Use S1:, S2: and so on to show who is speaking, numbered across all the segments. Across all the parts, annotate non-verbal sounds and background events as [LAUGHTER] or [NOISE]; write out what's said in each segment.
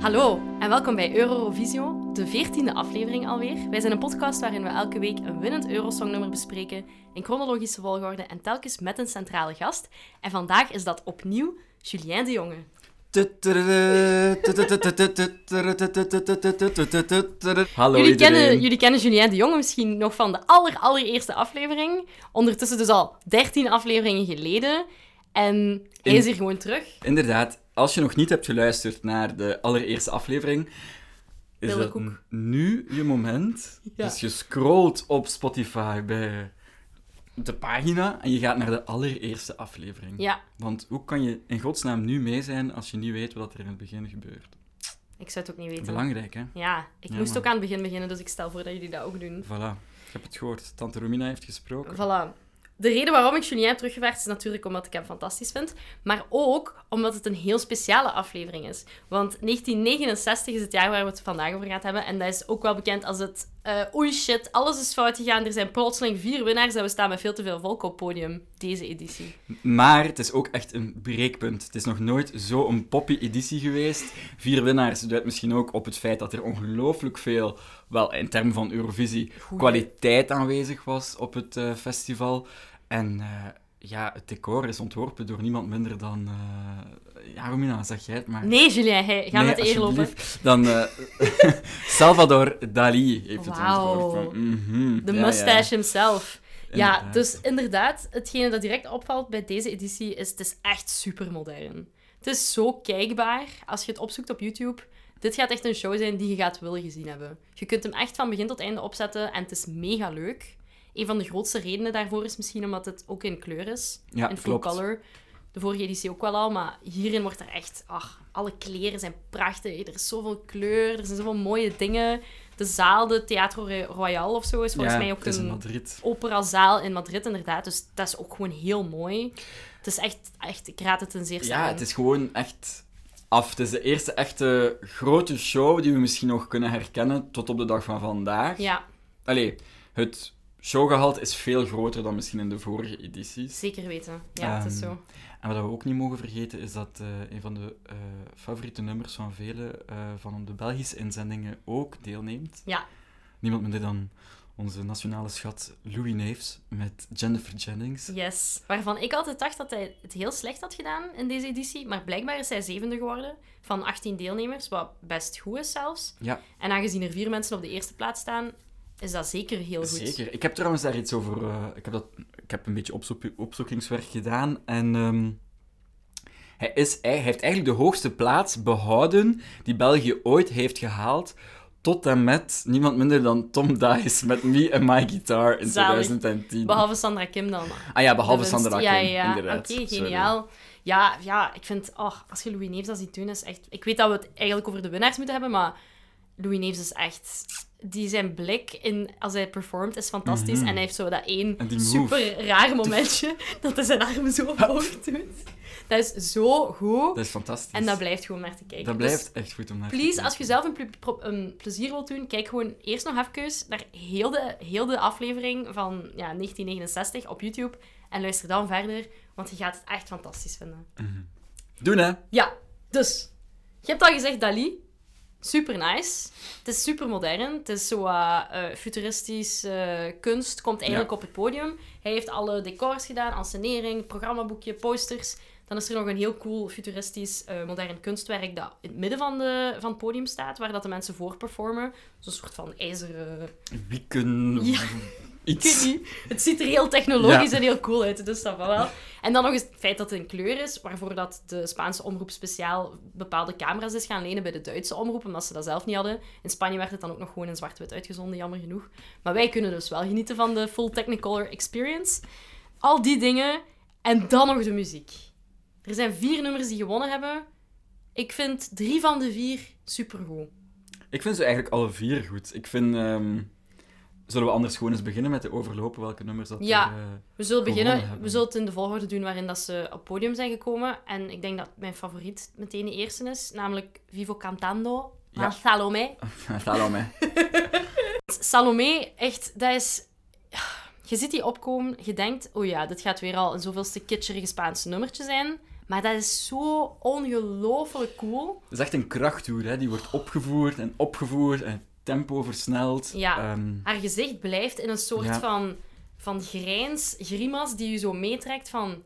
S1: Hallo en welkom bij Eurovisio, de veertiende aflevering alweer. Wij zijn een podcast waarin we elke week een winnend Eurosongnummer bespreken, in chronologische volgorde en telkens met een centrale gast. En vandaag is dat opnieuw Julien de Jonge.
S2: Hallo
S1: jullie,
S2: iedereen.
S1: kennen, jullie kennen Julien de Jonge misschien nog van de aller, allereerste aflevering. Ondertussen dus al 13 afleveringen geleden. En hij
S2: In-
S1: is hier gewoon terug.
S2: Inderdaad, als je nog niet hebt geluisterd naar de allereerste aflevering, is dat
S1: Bilderkoek.
S2: n- nu je moment.
S1: Ja.
S2: Dus je scrolt op Spotify bij de pagina en je gaat naar de allereerste aflevering.
S1: Ja,
S2: Want hoe kan je in godsnaam nu mee zijn als je niet weet wat er in het begin gebeurt?
S1: ik zou het ook niet weten.
S2: Belangrijk, hè?
S1: Ja, ik
S2: Ja,
S1: moest
S2: man.
S1: ook aan het begin beginnen, dus ik stel voor dat jullie dat ook doen.
S2: Voilà, ik heb het gehoord. Tante Romina heeft gesproken.
S1: Voilà. De reden waarom ik Julien heb teruggevraagd is natuurlijk omdat ik hem fantastisch vind, maar ook omdat het een heel speciale aflevering is. Want 1969 is het jaar waar we het vandaag over gaan hebben en dat is ook wel bekend als het eh, oei shit, alles is fout gegaan, er zijn plotseling vier winnaars en we staan met veel te veel volk op podium, deze editie.
S2: Maar het is ook echt een breekpunt. Het is nog nooit zo'n poppy-editie geweest. Vier winnaars duidt misschien ook op het feit dat er ongelooflijk veel, wel in termen van Eurovisie, kwaliteit aanwezig was op het eh, festival. En eh, ja, het decor is ontworpen door niemand minder dan... eh, ja, Romina, zeg jij het maar.
S1: Nee, Julien, hey, ga
S2: Nee,
S1: met de eer lopen.
S2: alsjeblieft. Dan eh, [LAUGHS] Salvador Dali heeft het
S1: Wauw.
S2: ontworpen. Mhm.
S1: De
S2: Ja, ja.
S1: mustache himself. Ja,
S2: Inderdaad.
S1: dus inderdaad, hetgene dat direct opvalt bij deze editie is, het is echt super modern. Het is zo kijkbaar als je het opzoekt op YouTube. Dit gaat echt een show zijn die je gaat willen gezien hebben. Je kunt hem echt van begin tot einde opzetten en het is mega leuk. Een van de grootste redenen daarvoor is misschien omdat het ook in kleur is.
S2: Ja,
S1: in full
S2: klopt.
S1: color. De vorige editie ook wel al, maar hierin wordt er echt... Ach, alle kleren zijn prachtig. Er is zoveel kleur, er zijn zoveel mooie dingen. De zaal, de Teatro Royal of zo, is volgens
S2: ja,
S1: mij ook
S2: het is in
S1: een
S2: Madrid.
S1: operazaal in Madrid, inderdaad. Dus dat is ook gewoon heel mooi. Het is echt, echt ik raad het ten zeerste
S2: Ja,
S1: aan.
S2: het is gewoon echt af. Het is de eerste echte grote show die we misschien nog kunnen herkennen tot op de dag van vandaag.
S1: Ja,
S2: Allee, het showgehalte is veel groter dan misschien in de vorige edities.
S1: zeker weten. Ja, het is
S2: Ehm,
S1: zo.
S2: En wat we ook niet mogen vergeten is dat eh, een van de eh, favoriete nummers van velen eh, van de Belgische inzendingen ook deelneemt.
S1: Ja.
S2: Niemand minder dan onze nationale schat Louis Neefs met Jennifer Jennings.
S1: Yes. Waarvan ik altijd dacht dat hij het heel slecht had gedaan in deze editie. Maar blijkbaar is hij zevende geworden van 18 deelnemers, wat best goed is zelfs.
S2: Ja,
S1: En aangezien er vier mensen op de eerste plaats staan, is dat zeker heel goed.
S2: Zeker. Ik heb trouwens daar iets over. eh, ik, heb dat, ik heb een beetje opzoek- opzoekingswerk gedaan. En ehm, hij, is, hij heeft eigenlijk de hoogste plaats behouden die België ooit heeft gehaald. Tot en met niemand minder dan Tom Dice met Me and My Guitar in
S1: Zalig.
S2: 2010.
S1: Behalve Sandra Kim dan.
S2: ah ja, behalve
S1: De winst.
S2: Sandra
S1: ja,
S2: Kim,
S1: ja, ja.
S2: inderdaad.
S1: Oké,
S2: Sorry.
S1: geniaal. Ja, ja, ik vind... Oh, als je Louis Neefs dat ziet doen, is echt... Ik weet dat we het eigenlijk over de winnaars moeten hebben, maar Louis Neefs is echt... Die zijn blik in, als hij performt is fantastisch.
S2: Mhm.
S1: En hij heeft zo dat één
S2: En die move.
S1: super raar momentje [LAUGHS] dat hij zijn armen zo omhoog doet. Dat is zo goed.
S2: Dat is fantastisch.
S1: en dat blijft gewoon naar te kijken.
S2: Dat
S1: Dus
S2: blijft echt goed om naar te
S1: Please,
S2: kijken.
S1: als je zelf een, ple- pro- een plezier wilt doen, kijk gewoon eerst nog even naar heel de, heel de aflevering van ja, 1969 op YouTube. En luister dan verder, want je gaat het echt fantastisch vinden.
S2: Doen hè?
S1: Ja, dus. Je hebt al gezegd Dali. Super nice. Het is super modern. Het is zo eh, eh, futuristisch eh, kunst. Komt eigenlijk
S2: Ja.
S1: op het podium. Hij heeft alle decors gedaan, ansenering, programmaboekje, posters. Dan is er nog een heel cool futuristisch eh, modern kunstwerk dat in het midden van, de, van het podium staat, waar dat de mensen voor performen. Zo'n soort van ijzeren...
S2: Wieken.
S1: Ja. Ik weet
S2: Iets.
S1: niet. Het ziet er heel technologisch
S2: Ja.
S1: en heel cool uit, dus dat van wel. En dan nog eens het feit dat het in kleur is, waarvoor dat de Spaanse omroep speciaal bepaalde camera's is gaan lenen bij de Duitse omroep, omdat ze dat zelf niet hadden. In Spanje werd het dan ook nog gewoon in zwart-wit uitgezonden, jammer genoeg. Maar wij kunnen dus wel genieten van de full Technicolor experience. Al die dingen. En dan nog de muziek. Er zijn vier nummers die gewonnen hebben. Ik vind drie van de vier supergoed.
S2: Ik vind ze eigenlijk alle vier goed. Ik vind... ehm, zullen we anders gewoon eens beginnen met te overlopen welke nummers dat
S1: Ja.
S2: er, eh, [LAUGHS]
S1: We zullen
S2: gewonnen
S1: beginnen.
S2: hebben.
S1: We zullen het in de volgorde doen waarin dat ze op het podium zijn gekomen. En ik denk dat mijn favoriet meteen de eerste is, namelijk Vivo Cantando van
S2: Ja.
S1: Salome.
S2: Salam, hè.
S1: Salome, echt, dat is... Je ziet die opkomen, je denkt, oh ja, dit gaat weer al een zoveelste kitscherige Spaanse nummertje zijn. Maar dat is zo ongelooflijk cool.
S2: Het is echt een krachttoer, hè. Die wordt opgevoerd en opgevoerd en tempo versneld.
S1: Ja.
S2: Ehm,
S1: Haar gezicht blijft in een soort
S2: Ja.
S1: van, van grijns, grimas die je zo meetrekt van...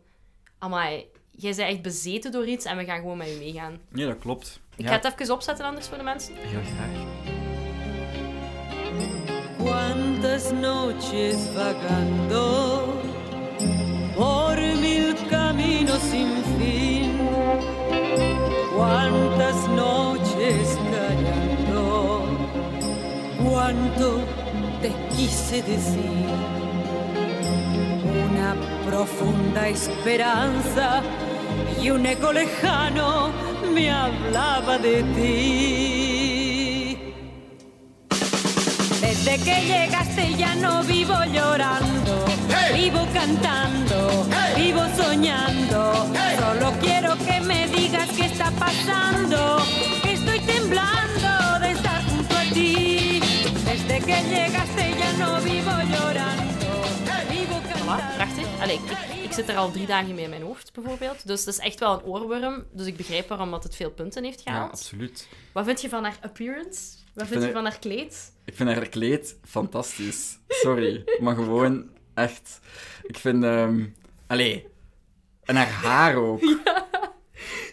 S1: Amai, jij bent echt bezeten door iets en we gaan gewoon met je meegaan.
S2: nee, dat klopt.
S1: Ik
S2: ja,
S1: ga het even opzetten anders voor de mensen.
S2: heel graag.
S3: Cuántas noches vagando por mil caminos sin fin. Cuántas noches callando. Cuánto te quise decir. Una profunda esperanza y un eco lejano me hablaba de ti. Desde que llegaste ya no vivo llorando, vivo cantando, vivo soñando. Solo quiero que me digas qué está pasando, que estoy temblando de estar junto a ti. Desde que llegaste ya no vivo llorando, vivo
S1: Voilà,
S3: cantando.
S1: prachtig. Allee, ik, ik zit er al drie dagen mee in mijn hoofd, bijvoorbeeld. Dus dat is echt wel een oorworm. Dus ik begrijp waarom dat het veel punten heeft
S2: Ja,
S1: gehaald.
S2: absoluut.
S1: Wat vind je van haar appearance? Wat
S2: vind
S1: vind je
S2: het-
S1: van haar kleed?
S2: Ik vind haar kleed fantastisch. Sorry, maar gewoon echt. Ik vind. ehm Allee. En haar haar ook.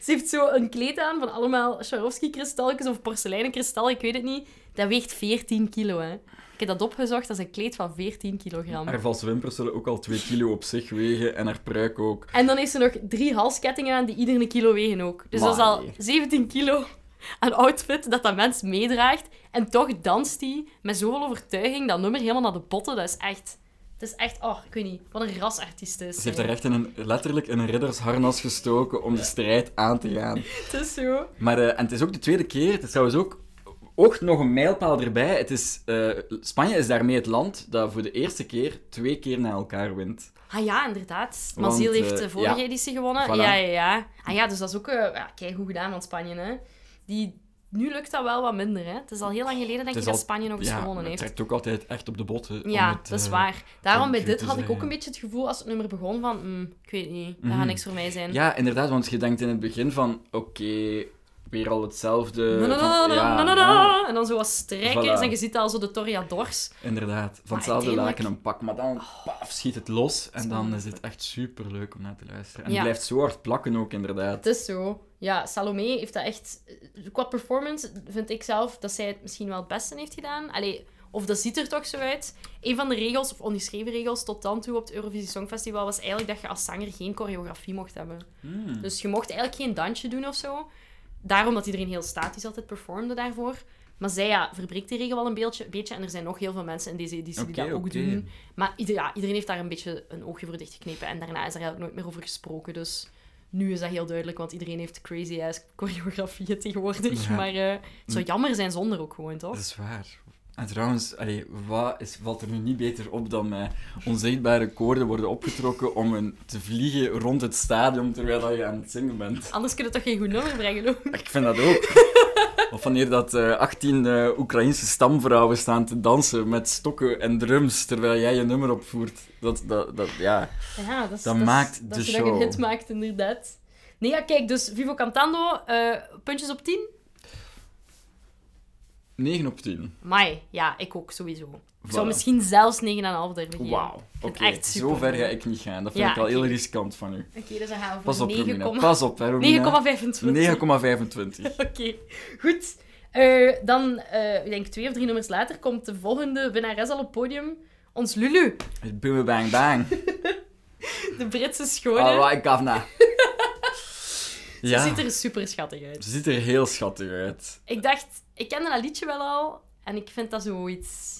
S1: Ze heeft zo een kleed aan van allemaal Swarovski-kristalletjes of porseleinen kristallen, ik weet het niet. Dat weegt 14 kilo, hè. Ik heb dat opgezocht, dat is een kleed van 14 kilogram.
S2: Haar valse wimpers zullen ook al 2 kilo op zich wegen en haar pruik ook.
S1: En dan heeft ze nog drie halskettingen aan die ieder een kilo wegen ook. Dus dat is al
S2: Wai.
S1: 17 kilo aan outfit dat dat mens meedraagt. En toch danst hij met zoveel overtuiging dat nummer helemaal naar de botten. Dat is echt... Het is echt... Oh, ik weet niet. Wat een rasartiest is.
S2: Ze heeft haar echt in een, letterlijk in een riddersharnas gestoken om de strijd aan te gaan.
S1: Het is zo...
S2: Maar eh, en het is ook de tweede keer. Het is trouwens ook, ook nog een mijlpaal erbij. Het is, eh, Spanje is daarmee het land dat voor de eerste keer twee keer na elkaar wint.
S1: Ah ja, inderdaad.
S2: Want,
S1: Maziel heeft
S2: eh,
S1: de vorige
S2: ja.
S1: editie gewonnen.
S2: Voilà.
S1: Ja, ja, ja. Ah ja, dus dat is ook... eh ja, kijk, goed gedaan van Spanje, hè. Die... Nu lukt dat wel wat minder, hè. Het is al heel lang geleden, denk
S2: Het
S1: ik,
S2: is
S1: dat
S2: al-
S1: Spanje nog eens
S2: ja,
S1: gewonnen
S2: Het
S1: heeft.
S2: trekt ook altijd echt op de botten.
S1: Ja,
S2: om het,
S1: dat is
S2: eh,
S1: waar. Daarom bij
S2: om
S1: dit
S2: te
S1: had ik ook
S2: zeggen.
S1: een beetje het gevoel als het nummer begon van, "Mm, ik weet niet, dat
S2: Mhm.
S1: gaat niks voor mij zijn.
S2: Ja, inderdaad, want je denkt in het begin van, oké, weer al hetzelfde.
S1: Na, na,
S2: eh,
S1: na,
S2: van-
S1: na, na,
S2: ja,
S1: na,
S2: ja,
S1: na. En dan zo wat strekkers
S2: Voilà.
S1: en je ziet al zo de Toriadors.
S2: inderdaad. Van
S1: Maar
S2: hetzelfde
S1: uiteindelijk- Oh.
S2: laken een pak, maar dan paf, schiet het los. En dan is het echt super leuk om naar te luisteren. En
S1: Ja.
S2: het blijft zo hard plakken ook, inderdaad.
S1: Het is zo. Ja, Salome heeft dat echt... eh, Qua performance vind ik zelf dat zij het misschien wel het beste heeft gedaan. Allee, of dat ziet er toch zo uit. Een van de regels, of ongeschreven regels, tot dan toe op het Eurovisie Songfestival was eigenlijk dat je als zanger geen choreografie mocht hebben.
S2: Hmm.
S1: Dus je mocht eigenlijk geen dansje doen of zo. Daarom dat iedereen heel statisch altijd performde daarvoor. Maar zij ja, verbreekt die regel wel een beetje, beetje. En er zijn nog heel veel mensen in deze editie die
S2: Oké,
S1: dat ook
S2: oké.
S1: doen. Maar ieder, ja, iedereen heeft daar een beetje een oogje voor dichtgeknepen. En daarna is er eigenlijk nooit meer over gesproken. Dus nu is dat heel duidelijk, want iedereen heeft crazy-ass choreografieën tegenwoordig.
S2: Ja. Hm.
S1: Maar eh, het zou jammer zijn zonder ook gewoon, toch?
S2: Dat is waar. En trouwens, allee, wat is, valt er nu niet beter op dan mij? Onzichtbare koorden worden opgetrokken om een, te vliegen rond het stadion terwijl dat je aan het zingen bent. [LAUGHS]
S1: Anders kun je toch geen goed nummer brengen, ook?
S2: Ik vind dat ook. Of wanneer dat eh 18 eh Oekraïnse stamvrouwen staan te dansen met stokken en drums terwijl jij je nummer opvoert. Dat, dat, dat, ja.
S1: [LAUGHS] Ja, dat, is,
S2: Dat
S1: is-
S2: maakt
S1: dat
S2: de
S1: je nog een
S2: show.
S1: hit maakt, inderdaad. Nee, ja, kijk, dus Vivo Cantando, eh, puntjes op 10.
S2: 9 op 10.
S1: Mai, ja, ik ook sowieso. Ik zou
S2: Voilà.
S1: misschien zelfs 9,5 durven geven.
S2: Wauw.
S1: vind
S2: Oké,
S1: het echt super.
S2: zo ver ga ik niet gaan. Dat vind
S1: Ja,
S2: ik al heel
S1: oké.
S2: riskant van u.
S1: Oké, dus dan gaan we
S2: Pas
S1: voor
S2: op, Romina.
S1: 9,25.
S2: Pas op, hè, Romina.
S1: 9,25.
S2: 9,25.
S1: [LAUGHS] Oké, goed. Eh, dan, eh, ik denk twee of drie nummers later, komt de volgende winnares al op het podium. Ons Lulu,
S2: Boom, bang,
S1: [LAUGHS]
S2: bang.
S1: de Britse schone.
S2: Alright, Kavna.
S1: [LAUGHS] Ze
S2: Ah, ja,
S1: ziet er super schattig uit.
S2: ze ziet er heel schattig uit.
S1: Ik dacht, ik kende dat liedje wel al en ik vind dat zoiets.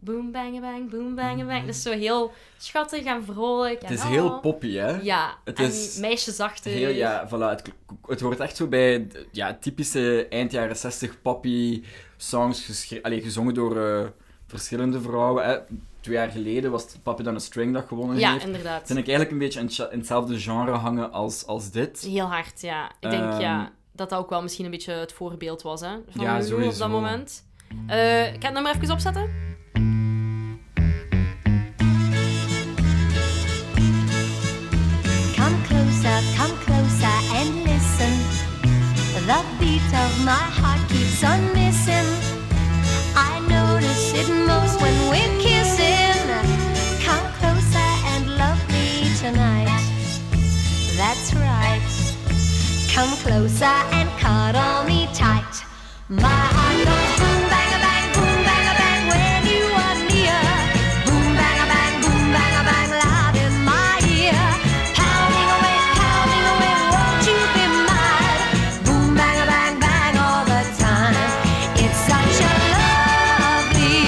S1: Boom, bang, bang, boom, bang, bang. Dat is zo heel schattig en vrolijk. En
S2: Mm. Het is
S1: oh.
S2: heel poppy, hè?
S1: Ja,
S2: Het
S1: en
S2: is
S1: meisjesachtig.
S2: Heel, ja, voilà, het, het hoort echt zo bij ja, typische eind jaren 60 poppy songs, geschre- allee, gezongen door eh, verschillende vrouwen. Hè. Twee jaar geleden was het Papi dan een String dat gewonnen
S1: Ja,
S2: heeft.
S1: inderdaad.
S2: Vind ik eigenlijk een beetje in, het- in hetzelfde genre hangen als, als dit.
S1: Heel hard, ja. Ik denk
S2: Ehm,
S1: ja, dat dat ook wel misschien een beetje het voorbeeld was hè, van
S2: Ja,
S1: Lulu op
S2: sowieso.
S1: dat moment. Eh, ik ga het nummer even opzetten.
S4: Come closer, come closer, The beat of my heart keeps on missing. I notice it most when we're kissing. Come closer and love me tonight. That's right. Come closer and cuddle me tight. My heart goes boom bang a bang, boom bang a bang when you are near. Boom bang a bang, boom bang a bang, loud in my ear. Pounding away, pounding away, won't you be mine? Boom bang a bang bang all the time. It's such a lovely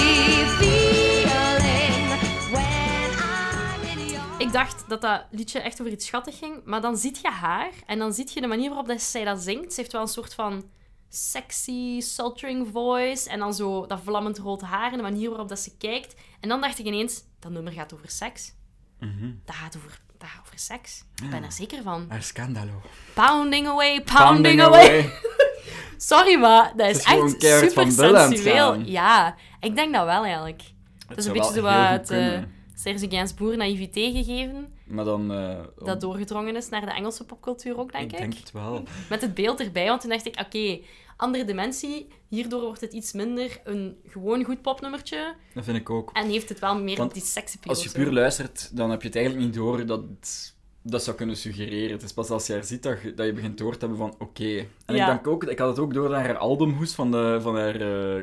S4: feeling when I'm in your.
S1: Ik dacht dat dat liedje echt over iets schattig ging, maar dan ziet je haar en dan ziet je de manier waarop dat zij dat zingt. Ze heeft wel een soort van sexy, sultering voice en dan zo dat vlammend rood haar en de manier waarop dat ze kijkt. En dan dacht ik ineens, dat nummer gaat over seks.
S2: Mhm.
S1: Dat, gaat over, dat gaat over seks. Ik ben er zeker van.
S2: Haar scandalo.
S1: Pounding away, pounding away. [LAUGHS] Sorry, maar dat is,
S2: is gewoon
S1: echt
S2: keihard
S1: super
S2: van Bella aan het
S1: sensueel.
S2: gaan.
S1: Ja, ik denk dat wel eigenlijk. Het is een
S2: zou
S1: beetje zo
S2: wel heel goed
S1: wat uh,
S2: kunnen.
S1: Serge Gainsbourg Boer naïviteit gegeven,
S2: Maar dan... eh, om-
S1: dat doorgedrongen is naar de Engelse popcultuur ook, denk
S2: Ik
S1: ik.
S2: denk het wel.
S1: Met het beeld erbij, want toen dacht ik, oké, andere dimensie, hierdoor wordt het iets minder een gewoon goed popnummertje
S2: Dat vind ik ook.
S1: en heeft het wel meer
S2: Want
S1: die sexy
S2: Als je puur luistert, dan heb je het eigenlijk niet door dat het- dat zou kunnen suggereren. Het is pas als je haar ziet dat je, dat je begint door te hebben van oké. En
S1: Ja.
S2: ik denk ook, ik had het ook door naar haar albumhoes van, de, van haar eh,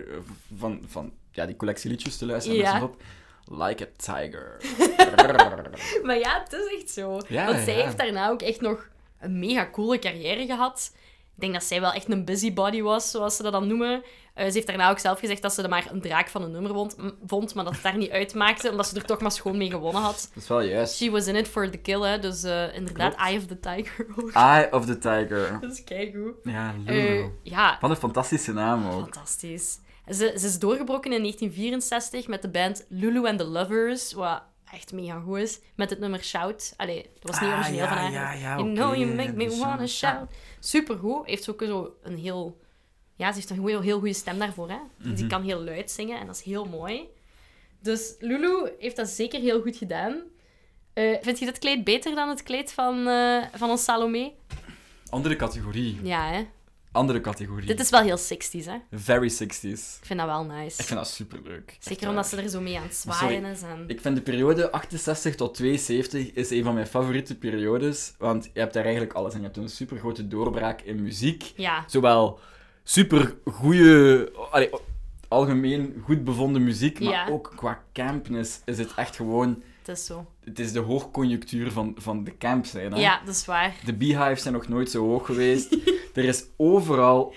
S2: van, van, ja, die collectie liedjes te luisteren.
S1: Ja.
S2: met zo'n Op, like a
S1: [LAUGHS]
S2: tiger.
S1: Maar ja, het is echt zo.
S2: Ja,
S1: Want zij
S2: ja.
S1: heeft daarna ook echt nog een mega coole carrière gehad. Ik denk dat zij wel echt een busybody was, zoals ze dat dan noemen. Eh, ze heeft daarna ook zelf gezegd dat ze er maar een draak van een nummer wond- m- vond, maar dat het daar niet uitmaakte, omdat ze er toch maar schoon mee gewonnen had.
S2: dat is wel juist.
S1: She was in it for the kill, hè. Dus eh, inderdaad,
S2: Klopt.
S1: Eye of the Tiger. ook. [LAUGHS]
S2: Eye of the tiger.
S1: dat is keigoed.
S2: Ja,
S1: Eh,
S2: Lulu.
S1: ja,
S2: Wat een fantastische naam ook.
S1: fantastisch. Ze, ze is doorgebroken in 1964 met de band Lulu and the Lovers, wat echt mega goed is, met het nummer Shout. Allee, dat was niet
S2: Ah,
S1: origineel
S2: ja,
S1: van haar.
S2: ja, ja, dus, eh,
S1: you
S2: oké,
S1: know you make me
S2: de
S1: wanna
S2: song.
S1: shout. Supergoed. Heeft ook zo een heel... Ja, ze heeft een heel, heel goede stem daarvoor. Hè? Dus
S2: Mhm.
S1: Die kan heel luid zingen en dat is heel mooi. Dus Lulu heeft dat zeker heel goed gedaan. Eh, vind je dat kleed beter dan het kleed van, eh, van ons Salome?
S2: Andere categorie.
S1: Ja, hè?
S2: Andere categorie.
S1: Dit is wel heel 60s, hè?
S2: Very 60s.
S1: Ik vind dat wel nice.
S2: Ik vind dat superleuk. Echt
S1: Zeker
S2: waar.
S1: omdat ze eh. er zo mee aan het
S2: Maar
S1: zwaaien
S2: sorry,
S1: is. En...
S2: Ik vind de periode 68 tot 72 is een van mijn favoriete periodes, want je hebt daar eigenlijk alles in. Je hebt een super grote doorbraak in muziek.
S1: Ja.
S2: Zowel super goede, algemeen goed bevonden muziek, maar
S1: Ja.
S2: ook qua campness is het echt gewoon.
S1: Het is zo.
S2: Het is de hoogconjunctuur van, van de camp zijn. Hè?
S1: Ja, dat is waar. [LAUGHS]
S2: De beehives zijn nog nooit zo hoog geweest. er is overal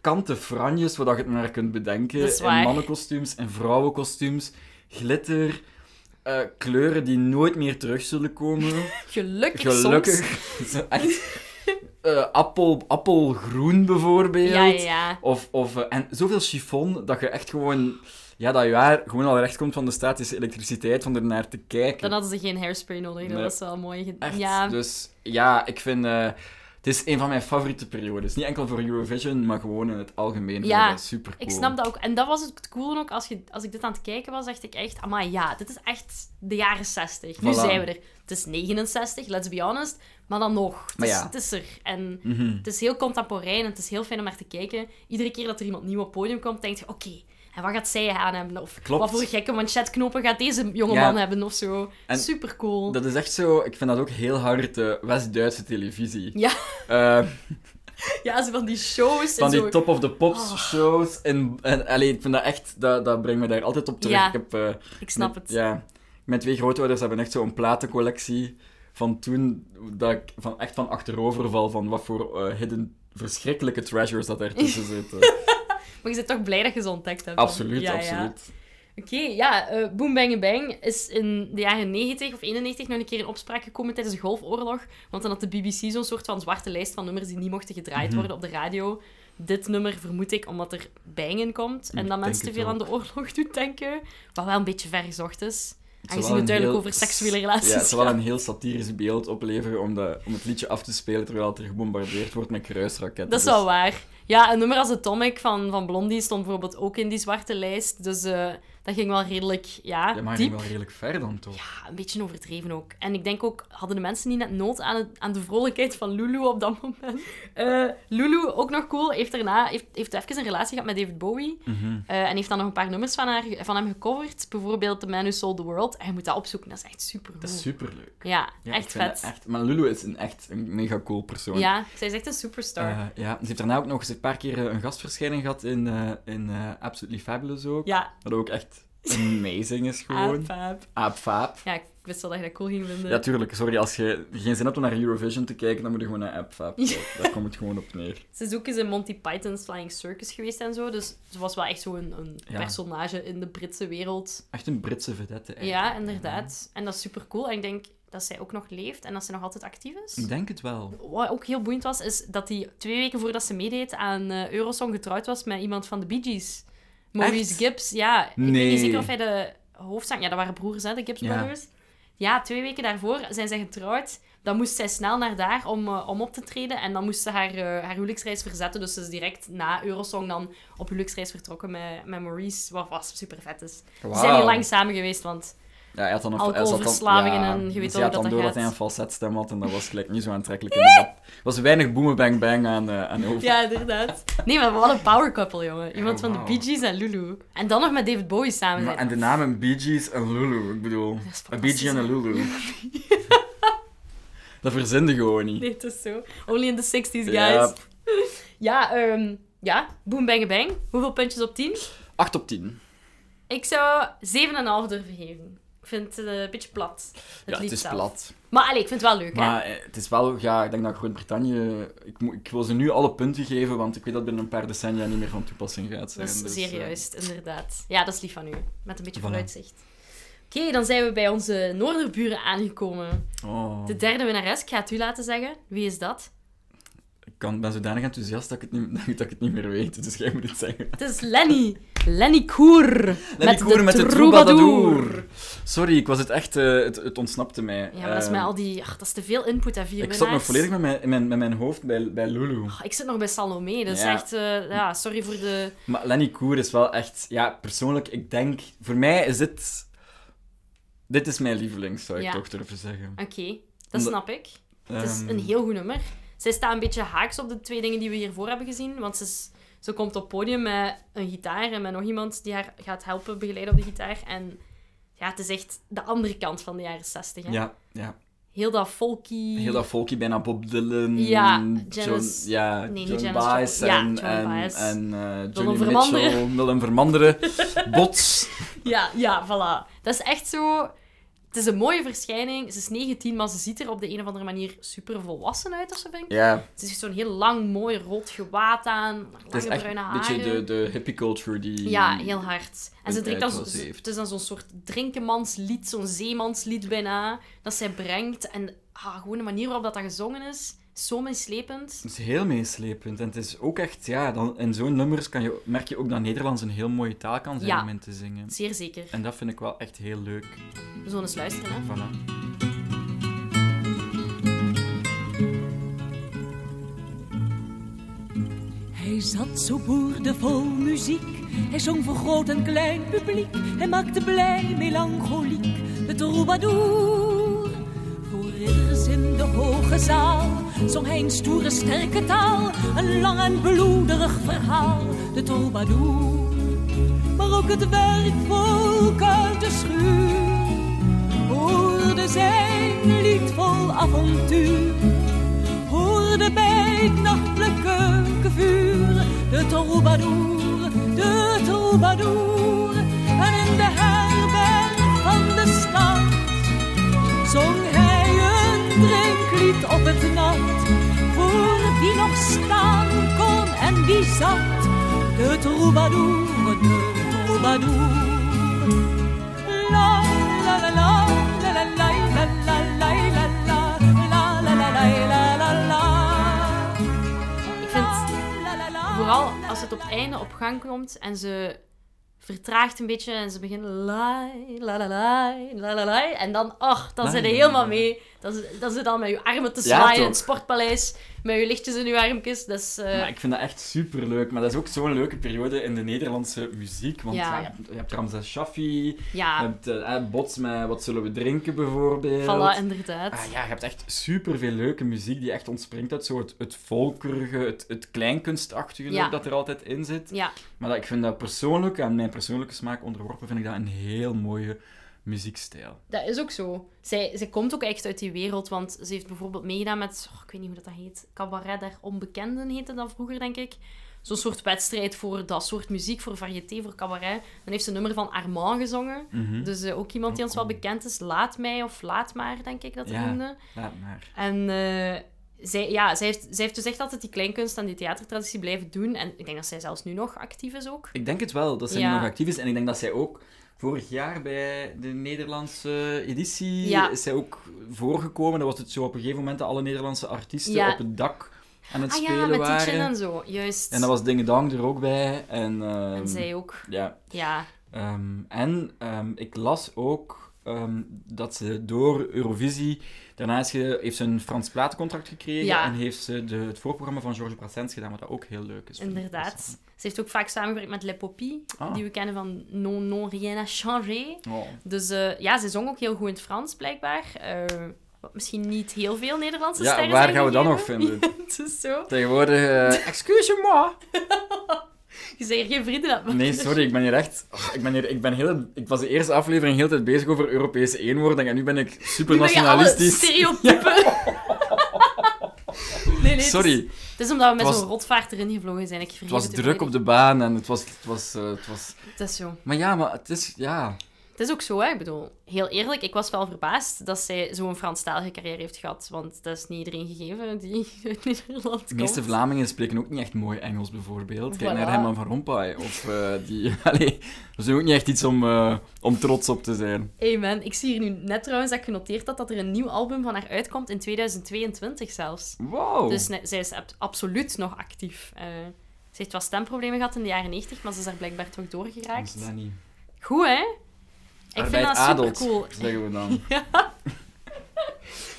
S2: kanten franjes, waar dat je het maar kunt bedenken.
S1: Dat is
S2: in
S1: waar.
S2: mannenkostuums en vrouwenkostuums. Glitter. eh, kleuren die nooit meer terug zullen
S1: [LAUGHS]
S2: komen.
S1: Gelukkig, soms.
S2: Gelukkig. [LAUGHS] Zo Echt. eh, appel, appelgroen bijvoorbeeld.
S1: Ja, ja, ja.
S2: Of, of, eh, en zoveel chiffon dat je echt gewoon... Ja, dat je haar gewoon al recht komt van de statische elektriciteit, van er naar te kijken.
S1: Dan hadden ze geen hairspray nodig. Dat
S2: Nee.
S1: was wel mooi. ge-
S2: Echt.
S1: Ja,
S2: Dus ja, ik vind... eh, het is een van mijn favoriete periodes. Niet enkel voor Eurovision, maar gewoon in het algemeen. vind
S1: Ja,
S2: ik super
S1: ik snap dat ook. En dat was ook het coole ook. Als, je, als ik dit aan het kijken was, dacht ik echt... Amai, ja, dit is echt de jaren 60. Nu
S2: Voilà.
S1: zijn we er. Het is 69, let's be honest. Maar dan nog. Het,
S2: Maar
S1: is,
S2: ja. Mhm.
S1: het is er. En het is heel contemporain en het is heel fijn om naar te kijken. Iedere keer dat er iemand nieuw op het podium komt, denk je... Oké, en wat gaat zij aan hebben? Of
S2: Klopt.
S1: wat voor gekke manchetknopen gaat deze jonge
S2: Ja.
S1: man hebben? Of zo.
S2: En
S1: Super cool.
S2: Dat is echt zo... Ik vind dat ook heel hard eh, West-Duitse televisie.
S1: Ja. [LAUGHS]
S2: Eh,
S1: Ja, zo van die shows
S2: van
S1: en zo.
S2: die top of the pops
S1: Oh.
S2: shows. En, en allee, ik vind dat echt... Dat, dat brengt me daar altijd op terug.
S1: Ja.
S2: Ik heb... eh,
S1: Ik snap
S2: met-
S1: het.
S2: Ja. Mijn twee grootouders hebben echt zo'n platencollectie van toen, dat ik van, echt van achterover val van wat voor eh, hidden verschrikkelijke treasures dat ertussen
S1: [LAUGHS]
S2: zitten.
S1: Maar je bent toch blij dat je ze ontdekt hebt? dan?
S2: absoluut,
S1: Ja, ja.
S2: absoluut.
S1: Oké, ja. eh Boom Bang Bang is in de jaren 90 of 91 nog een keer in opspraak gekomen tijdens de Golfoorlog. Want dan had de BBC zo'n soort van zwarte lijst van nummers die niet mochten gedraaid
S2: Mhm.
S1: worden op de radio. Dit nummer vermoed ik omdat er bang in komt. En dat
S2: Ik denk
S1: mensen te
S2: het
S1: veel
S2: ook.
S1: aan de oorlog doet denken. Wat wel een beetje vergezocht is.
S2: Het
S1: Aangezien
S2: zal
S1: het
S2: wel een
S1: duidelijk
S2: heel-
S1: over seksuele
S2: Ja, het
S1: relaties
S2: zal wel
S1: gaat.
S2: een heel satirisch beeld opleveren om, de, om het liedje af te spelen terwijl het er gebombardeerd wordt met kruisraketten.
S1: Dat is
S2: Dus
S1: wel waar. Ja, een nummer als Atomic van, van Blondie stond bijvoorbeeld ook in die zwarte lijst. Dus eh, Dat ging wel redelijk, ja,
S2: Ja, maar ging
S1: diep.
S2: wel redelijk ver dan toch?
S1: Ja, een beetje overdreven ook. En ik denk ook, hadden de mensen niet net nood aan, het- aan de vrolijkheid van Lulu op dat moment? [LAUGHS] Eh, Lulu, ook nog cool, heeft daarna heeft, heeft even een relatie gehad met David Bowie.
S2: Mhm.
S1: Eh, en heeft dan nog een paar nummers van, haar, van hem gecoverd. Bijvoorbeeld The Man Who Sold the World. En je moet dat opzoeken, dat is echt super
S2: Dat is superleuk.
S1: Ja,
S2: Ja, ik
S1: echt
S2: vind dat
S1: vet.
S2: Echt, maar Lulu is een echt een mega cool persoon.
S1: Ja, zij is echt een superstar.
S2: Eh, ja, ze heeft daarna ook nog eens een paar keer eh, een gastverschijning gehad in, eh, in eh, Absolutely Fabulous ook.
S1: ja,
S2: Wat ook echt amazing is gewoon.
S1: aap, aap.
S2: Aapvaap.
S1: Ja, ik wist wel dat je dat cool ging vinden.
S2: Ja, tuurlijk. Sorry, als je geen zin hebt om naar Eurovision te kijken, dan moet je gewoon naar Aapvaap.
S1: Ja.
S2: Daar komt het gewoon op neer.
S1: Ze is ook eens in Monty Python's Flying Circus geweest en zo. Dus ze was wel echt zo'n een
S2: Ja.
S1: personage in de Britse wereld.
S2: Echt een Britse vedette eigenlijk.
S1: Ja, inderdaad. En dat is super cool. En ik denk dat zij ook nog leeft en dat ze nog altijd actief is.
S2: Ik denk het wel.
S1: Wat ook heel boeiend was, is dat hij twee weken voordat ze meedeed aan eh, Eurosong getrouwd was met iemand van de Bee Gees. Maurice
S2: Echt?
S1: Gibbs, ja. Ik weet
S2: Nee.
S1: niet zeker of hij de hoofdzang... Ja, dat waren broers, hè, de Gibbs
S2: Ja.
S1: Brothers. Ja, twee weken daarvoor zijn zij getrouwd. Dan moest zij snel naar daar om, eh, om op te treden. En dan moest ze haar, eh, haar huwelijksreis verzetten. Dus ze is direct na Eurosong dan op huwelijksreis vertrokken met, met Maurice. Wat was super vet is. Ze zijn
S2: Wauw.
S1: niet lang samen geweest, want...
S2: Ja, hij had dan een
S1: Alcoholverslaving
S2: hij zat dan-
S1: en je weet
S2: dus
S1: wel
S2: hij had
S1: hoe dat
S2: dan door
S1: gaat.
S2: dat hij een falsetstem had en dat was gelijk niet zo aantrekkelijk. En dat was weinig boemen bang bang aan, eh aan over.
S1: Ja, inderdaad. Nee, maar wat een power couple, jongen. Iemand
S2: Ja,
S1: van de
S2: Oh, wauw.
S1: Bee Gees en Lulu. En dan nog met David Bowie samen.
S2: Maar,
S1: zijn.
S2: en de namen Bee Gees en Lulu, ik bedoel.
S1: is
S2: Een Bee Gees en een Lulu.
S1: [LAUGHS]
S2: dat verzinde gewoon niet.
S1: [LAUGHS] Nee, het is zo. Only in the 60s, guys.
S2: Ja.
S1: Ja, ehm, ja. boom, bang, bang. Hoeveel puntjes op 10?
S2: 8 op 10.
S1: Ik zou 7,5 durven geven. Ik vind het eh, een beetje plat. Het
S2: ja,
S1: lied
S2: het is
S1: zelf.
S2: plat.
S1: Maar allee, ik vind het wel leuk, hè.
S2: Maar eh, het is wel, ja, ik denk dat Groot-Brittannië. Ik, moet- ik wil ze nu alle punten geven, want ik weet dat binnen een paar decennia niet meer van toepassing gaat zijn.
S1: Dat is
S2: dus,
S1: zeer
S2: eh,
S1: juist, inderdaad. Ja, dat is lief van u. Met een beetje
S2: Voilà.
S1: vooruitzicht. Oké, dan zijn we bij onze noorderburen aangekomen.
S2: oh,
S1: De derde winnares, ik ga het u laten zeggen. Wie is dat?
S2: ik kan, ben zodanig enthousiast dat ik, het niet, [LAUGHS] dat ik het niet meer weet, dus jij moet het zeggen.
S1: Het is Lenny. Lenny Koer.
S2: Lenny Koer met de troubadour. Sorry, ik was het echt... eh, het, het ontsnapte mij.
S1: Ja, maar dat is
S2: Ehm,
S1: met al die... Ach, dat is te veel input, hè. Vier
S2: Ik zat nog
S1: winnaars.
S2: volledig met mijn, in mijn, met mijn hoofd bij, bij Lulu.
S1: Ach, Ik zit nog bij Salome. Dat is
S2: Ja.
S1: echt... eh, ja, sorry voor de...
S2: Maar Lenny Koer is wel echt... Ja, persoonlijk, ik denk... Voor mij is dit... Dit is mijn lieveling, zou ik
S1: Ja.
S2: toch durven zeggen.
S1: Oké, dat
S2: Omdat-
S1: snap ik. Het is
S2: Ehm,
S1: een heel goed nummer. Zij staat een beetje haaks op de twee dingen die we hiervoor hebben gezien. Want ze, is- ze komt op het podium met een gitaar en met nog iemand die haar gaat helpen begeleiden op de gitaar. En ja, het is echt de andere kant van de jaren zestig. hè.
S2: Ja, ja.
S1: Heel dat folky...
S2: Heel dat volkje, bijna Bob Dylan,
S1: Ja, Janis-
S2: John, ja,
S1: nee, niet
S2: John
S1: Janis
S2: Baez en,
S1: Joplin. Ja, John
S2: en,
S1: Baez.
S2: en eh, Johnny
S1: Vermanderen.
S2: Mitchell, Willem
S1: [LAUGHS]
S2: Vermanderen, Bots.
S1: Ja, ja, voilà. Dat is echt zo... Het is een mooie verschijning. Ze is 19, maar ze ziet er op de een of andere manier super volwassen uit of zo, vind ik.
S2: Ja,
S1: Ze heeft zo'n heel lang, mooi rood gewaad aan. Lange
S2: Het is echt
S1: bruine
S2: een
S1: haren.
S2: beetje de, de hippie culture die...
S1: Ja, heel hard. En ze
S2: een
S1: drinkt dan zo,
S2: uitwas heeft.
S1: het is dan zo'n soort drinkenmanslied, zo'n zeemanslied bijna, dat zij brengt. En ah, gewoon de manier waarop dat, dat gezongen is, zo meeslepend.
S2: Het is heel meeslepend. En het is ook echt... Ja, dan, in zo'n nummers kan je, merk je ook dat Nederlands een heel mooie taal kan zijn
S1: Ja.
S2: om in te zingen.
S1: Zeer zeker.
S2: En dat vind ik wel echt heel leuk.
S1: We zullen eens luisteren, hè.
S2: Voilà.
S5: Hij zat zo boerdevol muziek. Hij zong voor groot en klein publiek. Hij maakte blij melancholiek de troubadour. Voor ridders in de hoge zaal zong hij in stoere sterke taal. Een lang en bloederig verhaal, de troubadour. Maar ook het werkvolk uit de schuur hoorde zijn lied vol avontuur hoorde bij het nachtelijke vuur de troubadour, de troubadour. En in de herberg van de stad zong hij een drinklied op het nat. Voor wie nog staan kon en wie zat, de troubadour, de troubadour. La la la la la la la la la la la la la la la la la la.
S1: Ik vind, vooral als het op het einde op gang komt en ze vertraagt een beetje en ze beginnen laai, la la laai, la la laai. En dan, ach, dan
S2: Laai,
S1: zijn ze
S2: la,
S1: helemaal
S2: la.
S1: mee. Dan, z- dan zit dan met je armen te
S2: Ja,
S1: zwaaien in
S2: toch?
S1: het sportpaleis. met je lichtjes in je armpjes. Dat is, eh,
S2: Maar ik vind dat echt superleuk. Maar dat is ook zo'n leuke periode in de Nederlandse muziek. Want
S1: Ja.
S2: ja, je, hebt, je hebt Ramses Shaffi, je
S1: ja,
S2: hebt eh, eh, Bots met Wat zullen we drinken bijvoorbeeld.
S1: voilà, inderdaad.
S2: Ah, ja, je hebt echt superveel leuke muziek die echt ontspringt uit zo het, het volkerige, het, het kleinkunstachtige
S1: Ja.
S2: ook dat er altijd in zit.
S1: Ja.
S2: Maar dat, ik vind dat persoonlijk, aan mijn persoonlijke smaak onderworpen, vind ik dat een heel mooie muziekstijl.
S1: Dat is ook zo. Zij, zij komt ook echt uit die wereld, want ze heeft bijvoorbeeld meegedaan met, oh, ik weet niet hoe dat, dat heet, Cabaret der Onbekenden heette dat vroeger, denk ik. Zo'n soort wedstrijd voor dat soort muziek, voor variété, voor cabaret. Dan heeft ze een nummer van Armand gezongen.
S2: Mhm.
S1: Dus eh, ook iemand die ons wel bekend is, Laat mij of Laat maar, denk ik dat ze
S2: Ja.
S1: noemde.
S2: Laat maar.
S1: En eh, zij, ja, zij, heeft, zij heeft dus echt altijd die kleinkunst en die theatertraditie blijven doen. En ik denk dat zij zelfs nu nog actief is ook.
S2: Ik denk het wel, dat zij
S1: Ja.
S2: nu nog actief is. En ik denk dat zij ook vorig jaar bij de Nederlandse editie
S1: Ja.
S2: is zij ook voorgekomen. Dan was het zo op een gegeven moment dat alle Nederlandse artiesten
S1: Ja.
S2: op het dak aan het
S1: Ah
S2: spelen
S1: ja, met die
S2: waren.
S1: chin en zo, juist.
S2: En dan was Ding Dong er ook bij. En, ehm,
S1: En zij ook,
S2: Ja.
S1: ja.
S2: Ehm, en ehm, ik las ook ehm, dat ze door Eurovisie... Daarna is ge- heeft ze een Frans platencontract gekregen.
S1: Ja.
S2: En heeft ze de, het voorprogramma van Georges Brassens gedaan, wat dat ook heel leuk is. vind ik.
S1: Inderdaad. Ze heeft ook vaak samengewerkt met Le Poppy,
S2: Ah.
S1: die we kennen van Non, non, rien a changé.
S2: Oh.
S1: Dus eh, ja, ze zong ook heel goed in het Frans, blijkbaar. Eh, wat misschien niet heel veel Nederlandse
S2: Ja,
S1: sterren
S2: waar
S1: zijn
S2: gaan we dan
S1: gegeven.
S2: nog vinden?
S1: Ja, [LAUGHS] het is zo.
S2: Tegenwoordig... eh, Excuse-moi!
S1: Je zei er geen vrienden aan.
S2: Nee, sorry, ik ben hier echt... oh, Ik, ben hier, ik, ben heel, ik was de eerste aflevering heel de tijd bezig over Europese eenwording en nu ben ik
S1: Nu ben je alle
S2: supernationalistisch.
S1: stereotypen. nee, nee, het is-
S2: Sorry,
S1: Het is omdat we
S2: Het
S1: met
S2: was-
S1: zo'n rotvaart erin gevlogen zijn. Ik
S2: het was druk op de baan en het was... Het was, eh, het was...
S1: Dat is zo.
S2: Maar ja, maar het is... Ja.
S1: Het is ook zo, hè. Ik bedoel, heel eerlijk, ik was wel verbaasd dat zij zo'n Franstalige carrière heeft gehad. Want dat is niet iedereen gegeven die [LAUGHS] uit Nederland
S2: De
S1: komt.
S2: meeste Vlamingen spreken ook niet echt mooi Engels, bijvoorbeeld. Kijk
S1: Voilà.
S2: naar Herman van Rompuy. Of eh, die... [LAUGHS] Allee, dat is ook niet echt iets om, eh, om trots op te zijn.
S1: Amen. Ik zie hier nu net trouwens dat ik genoteerd had dat er een nieuw album van haar uitkomt in 2022 zelfs.
S2: Wow.
S1: Dus ne- zij is ab- absoluut nog actief. Eh, ze heeft wel stemproblemen gehad in de jaren 90, maar ze is daar blijkbaar toch
S2: Dat
S1: doorgeraakt.
S2: is dat niet.
S1: Goed, hè? Ik
S2: Arbeid
S1: vind dat super
S2: adelt,
S1: cool.
S2: zeggen we
S1: [LAUGHS]
S2: dan.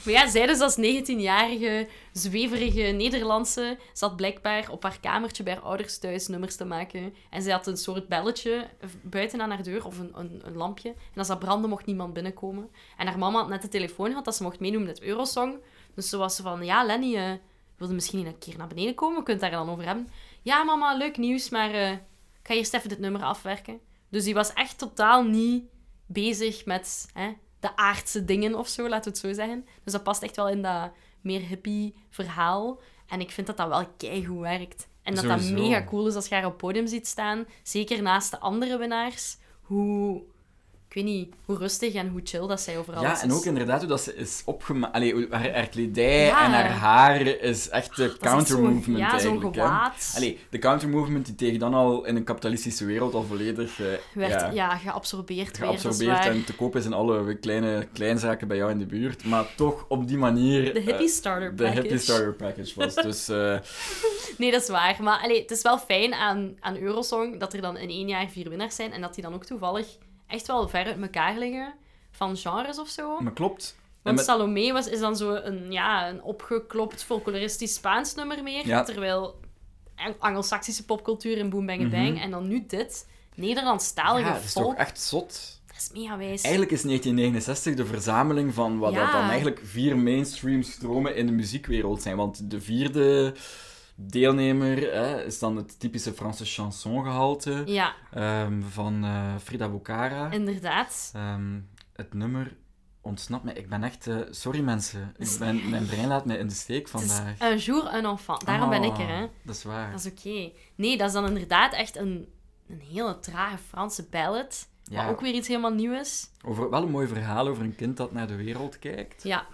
S1: Maar ja, zij dus als 19-jarige, zweverige Nederlandse zat blijkbaar op haar kamertje bij haar ouders thuis nummers te maken. En zij had een soort belletje buiten aan haar deur, of een, een, een lampje. En als dat brandde, mocht niemand binnenkomen. En haar mama had net de telefoon gehad dat ze mocht meedoen met Eurosong. Dus ze was zo van, ja, Lenny, eh wilde misschien een keer naar beneden komen? We kunnen het daar dan over hebben. Ja, mama, leuk nieuws, maar eh, ik ga eerst even dit nummer afwerken. Dus die was echt totaal niet bezig met hè, de aardse dingen of zo, laten we het zo zeggen. Dus dat past echt wel in dat meer hippie verhaal. En ik vind dat dat wel keigoed werkt. En dat dat
S2: Sowieso.
S1: mega cool is als je haar op het podium ziet staan. Zeker naast de andere winnaars. Hoe, ik weet niet, hoe rustig en hoe chill dat zij overal is.
S2: Ja, en ook inderdaad hoe dat ze is opgemaakt. Allee, hoe- haar, haar kledij
S1: Ja.
S2: en haar haar is echt
S1: Dat
S2: de
S1: is echt zo'n-
S2: countermovement
S1: Ja, zo'n
S2: eigenlijk. hè.
S1: gewaad.
S2: Allee, de countermovement die tegen dan al in een kapitalistische wereld al volledig eh,
S1: werd ja.
S2: ja,
S1: geabsorbeerd, weer, dat
S2: geabsorbeerd
S1: is waar.
S2: en te koop is in alle kleine kleinzaken bij jou in de buurt. Maar toch op die manier...
S1: De hippie
S2: eh,
S1: starter
S2: de
S1: package.
S2: hippie starter package
S1: [LAUGHS]
S2: was. Dus eh,
S1: Nee, dat is waar. Maar allee, het is wel fijn aan, aan Eurosong dat er dan in één jaar vier winnaars zijn en dat die dan ook toevallig echt wel ver uit elkaar liggen van genres of zo.
S2: maar klopt. En
S1: Want
S2: met-
S1: Salomé was, is dan zo een, ja, een opgeklopt folkloristisch Spaans nummer meer,
S2: Ja.
S1: terwijl Ang- Angelsaksische popcultuur in Boom Bang Bang en dan nu dit. Nederlandstalige
S2: Mhm. ja, dat is
S1: volk.
S2: toch echt zot.
S1: Dat is mega wijs.
S2: Eigenlijk is 1969 de verzameling van wat
S1: Ja.
S2: dat dan eigenlijk vier mainstream stromen in de muziekwereld zijn. Want de vierde deelnemer hè, is dan het typische Franse chansongehalte
S1: Ja,
S2: ehm, van eh, Frida Bocara.
S1: inderdaad.
S2: Ehm, het nummer ontsnapt mij. Ik ben echt... eh, sorry mensen, ik ben, mijn brein laat mij in de steek
S1: Het is
S2: vandaag.
S1: un jour un enfant. Daarom ben ik er, hè.
S2: Ah, Dat is waar.
S1: Dat is oké. Nee, dat is dan inderdaad echt een, een hele trage Franse ballad.
S2: Ja.
S1: Maar ook weer iets helemaal nieuws.
S2: Over, wel een mooi verhaal over een kind dat naar de wereld kijkt.
S1: Ja,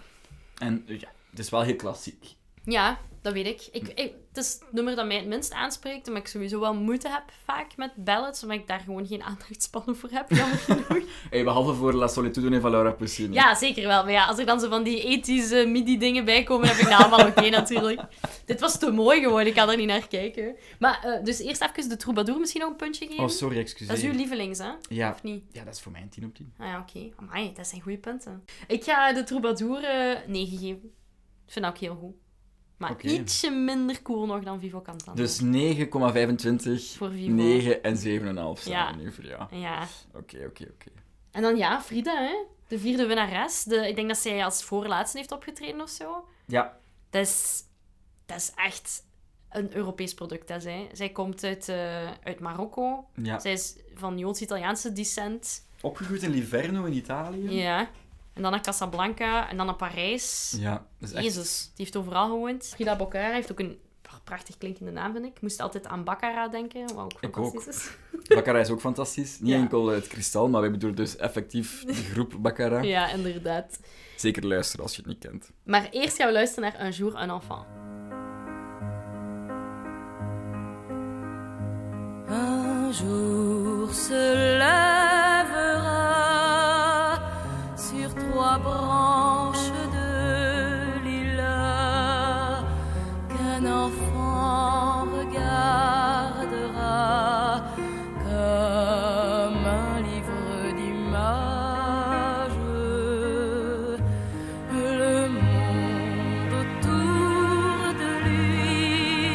S2: En eh, ja, het is wel heel klassiek.
S1: ja dat weet ik. ik, ik- Het is het nummer dat mij het minst aanspreekt, omdat ik sowieso wel moeite heb vaak met ballads, omdat ik daar gewoon geen aandachtspannen voor heb, jammer
S2: [LAUGHS]
S1: genoeg.
S2: Hey, behalve voor La Solitude van Laura Pausini.
S1: Ja, zeker wel. Maar ja, als er dan zo van die ethische midi-dingen bij komen, heb ik dat allemaal oké natuurlijk. Dit was te mooi gewoon, ik kan er niet naar kijken. Maar eh, dus eerst even de troubadour misschien nog een puntje geven.
S2: Oh, sorry, excuseer.
S1: dat is uw lievelings, hè?
S2: Ja.
S1: Of niet?
S2: ja, dat is voor mij een 10 op 10.
S1: Ah ja, oké. Amai, dat zijn goede punten. Ik ga de troubadour eh 9 geven. Ik vind dat ook heel goed. Maar
S2: Oké.
S1: ietsje minder cool nog dan Vivo Cantando.
S2: Dus 9,25,
S1: Voor Vivo.
S2: 9 en 7,5 staan
S1: Ja.
S2: er nu voor jou.
S1: Ja.
S2: Oké, oké, oké.
S1: En dan ja, Frida, hè? de vierde winnares. De, ik denk dat zij als voorlaatste heeft opgetreden of zo.
S2: Ja,
S1: Dat is, dat is echt een Europees product. Dat is, hè. Zij komt uit, eh, uit Marokko.
S2: ja.
S1: Zij is van Joods-Italiaanse descent.
S2: Opgegroeid in Liverno in Italië.
S1: Ja. En dan naar Casablanca en dan naar Parijs.
S2: Ja, dat is echt...
S1: Jezus, die heeft overal gewoond. Frida Boccara heeft ook een prachtig klinkende naam, vind ik. Ik moest altijd aan Baccarat denken, wat ook
S2: Ik
S1: fantastisch is. [LAUGHS]
S2: Baccarat is ook fantastisch. Niet
S1: Ja.
S2: enkel het kristal, maar wij bedoelen dus effectief de groep Baccarat.
S1: Ja, inderdaad.
S2: Zeker luisteren als je het niet kent.
S1: Maar eerst gaan we luisteren naar Un jour, un enfant.
S5: Un jour se lèvera sur trois branches de lilas qu'un enfant regardera comme un livre d'images. Le monde autour de lui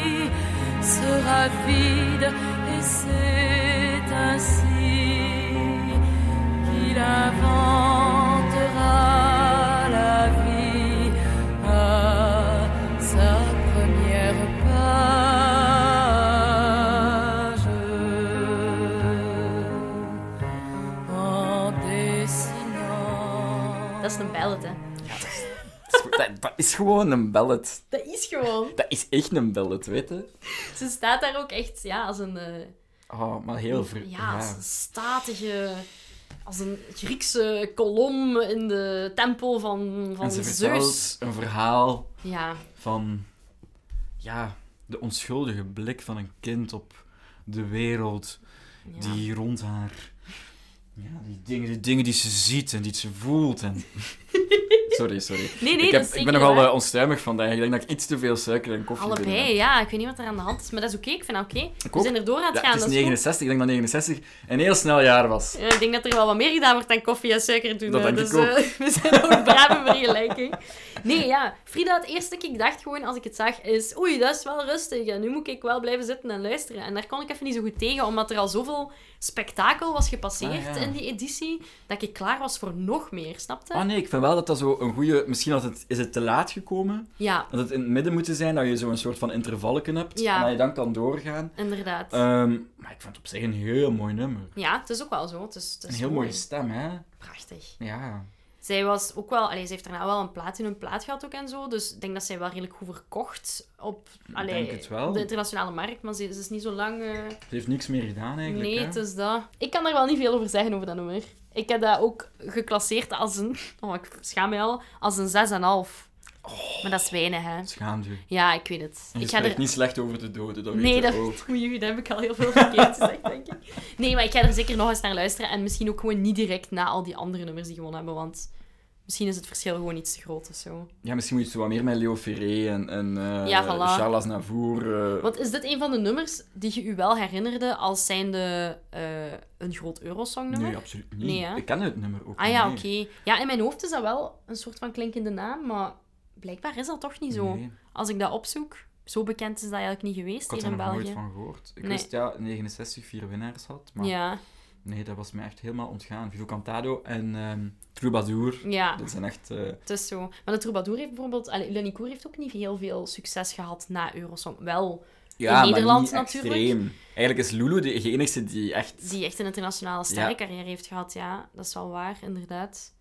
S5: sera vide et c'est ainsi qu'il inventera la vie à sa première page en dessinant.
S1: Dat is een ballad, hè.
S2: Dat is- Dat, dat is gewoon een ballet.
S1: Dat is gewoon.
S2: Dat is echt een ballet, weet je?
S1: [LAUGHS] Ze staat daar ook echt ja, als een... eh,
S2: Oh, maar heel ver...
S1: Ja, als een statige... Als een Griekse kolom in de tempel van, van
S2: En ze
S1: Zeus.
S2: vertelt een verhaal
S1: Ja,
S2: van... Ja, de onschuldige blik van een kind op de wereld
S1: ja.
S2: die rond haar... Ja, die dingen, die dingen die ze ziet en die ze voelt
S1: [LAUGHS]
S2: en... Sorry, sorry.
S1: Nee, nee, dus
S2: ik,
S1: dat
S2: heb,
S1: is
S2: ik
S1: zeker
S2: ben nogal
S1: waar.
S2: eh, onstuimig vandaag. Ik denk dat ik iets te veel suiker en koffie binnen heb.
S1: Allebei, Dus ja. Ik weet niet wat er aan de hand is, maar dat is oké. Ik vind dat oké. We
S2: ook.
S1: zijn er door aan het
S2: Ja,
S1: gaan.
S2: het is
S1: dat is goed.
S2: 69, ik denk dat 69 een heel snel jaar was.
S1: Ja, ik denk dat er wel wat meer gedaan wordt dan koffie en suiker doen.
S2: Dat
S1: hè.
S2: denk
S1: dus
S2: ik ook.
S1: eh, [LAUGHS] we zijn ook braaf in vergelijking. Nee, ja. Frida, het eerste dat ik dacht gewoon als ik het zag is... Oei, dat is wel rustig. En nu moet ik wel blijven zitten en luisteren. En daar kon ik even niet zo goed tegen, omdat er al zoveel spektakel was gepasseerd
S2: Ah, ja.
S1: in die editie, dat ik klaar was voor nog meer, snapte?
S2: Ah nee, ik vind wel dat dat zo een goede. Misschien had het, is het te laat gekomen.
S1: Ja,
S2: Dat het in het midden moet zijn, dat je zo'n soort van intervalken hebt.
S1: Ja.
S2: En dat je dan kan doorgaan.
S1: inderdaad.
S2: Ehm, maar ik vond het op zich een heel mooi nummer.
S1: Ja, het is ook wel zo. Het is, het is
S2: Een heel
S1: mooi.
S2: mooie stem, hè?
S1: Prachtig.
S2: Ja.
S1: Zij was ook wel, allee, ze heeft daarna wel een platinum plaat gehad ook en zo. Dus ik denk dat zij wel redelijk goed verkocht op allee,
S2: denk het wel.
S1: de internationale markt. Maar ze, ze is niet zo lang. eh,
S2: Ze heeft niks meer gedaan eigenlijk.
S1: nee,
S2: hè?
S1: het is dat. Ik kan daar wel niet veel over zeggen over dat nummer. Ik heb dat ook geclasseerd als een. [LAUGHS] Oh, ik schaam me al. Als een 6,5. Maar dat is weinig, hè?
S2: Schaamd u.
S1: Ja, ik weet het.
S2: En je
S1: ik ga
S2: spreekt
S1: er
S2: Oh. niet slecht over de doden, dat
S1: Nee,
S2: weet je
S1: dat,
S2: ook.
S1: Oei, daar heb ik al heel veel verkeerd gezegd, denk ik. Nee, maar ik ga er zeker nog eens naar luisteren. En misschien ook gewoon niet direct na al die andere nummers die gewonnen hebben. Want misschien is het verschil gewoon iets te groot of zo.
S2: Ja, misschien moet je het zo wat meer met Leo Ferré en, en eh,
S1: Ja, voilà.
S2: Charles Navour. eh,
S1: Want is dit een van de nummers die je u wel herinnerde als zijnde eh, een groot Eurosongnummer?
S2: Nee, absoluut niet.
S1: Nee, hè?
S2: ik ken het nummer ook
S1: ah
S2: niet,
S1: ja,
S2: nee.
S1: oké. Ja, in mijn hoofd is dat wel een soort van klinkende naam, maar blijkbaar is dat toch niet zo.
S2: Nee.
S1: Als ik dat opzoek, zo bekend is dat eigenlijk niet geweest
S2: Ik had
S1: hier
S2: er
S1: in
S2: nog
S1: België.
S2: nooit van gehoord. Ik
S1: Nee.
S2: wist ja, 69 vier winnaars had, maar
S1: Ja,
S2: nee, dat was mij echt helemaal ontgaan. Vivo Cantado en ehm Troubadour,
S1: ja.
S2: dat zijn echt... eh,
S1: Het is zo. Maar de troubadour heeft bijvoorbeeld... Allee, Lenny Koer heeft ook niet heel veel succes gehad na Eurosong. Wel,
S2: ja,
S1: Nederland
S2: maar niet
S1: natuurlijk.
S2: extreem. Eigenlijk is Lulu de enige die echt...
S1: die echt een internationale sterrencarrière heeft gehad. Ja, dat is wel waar, inderdaad.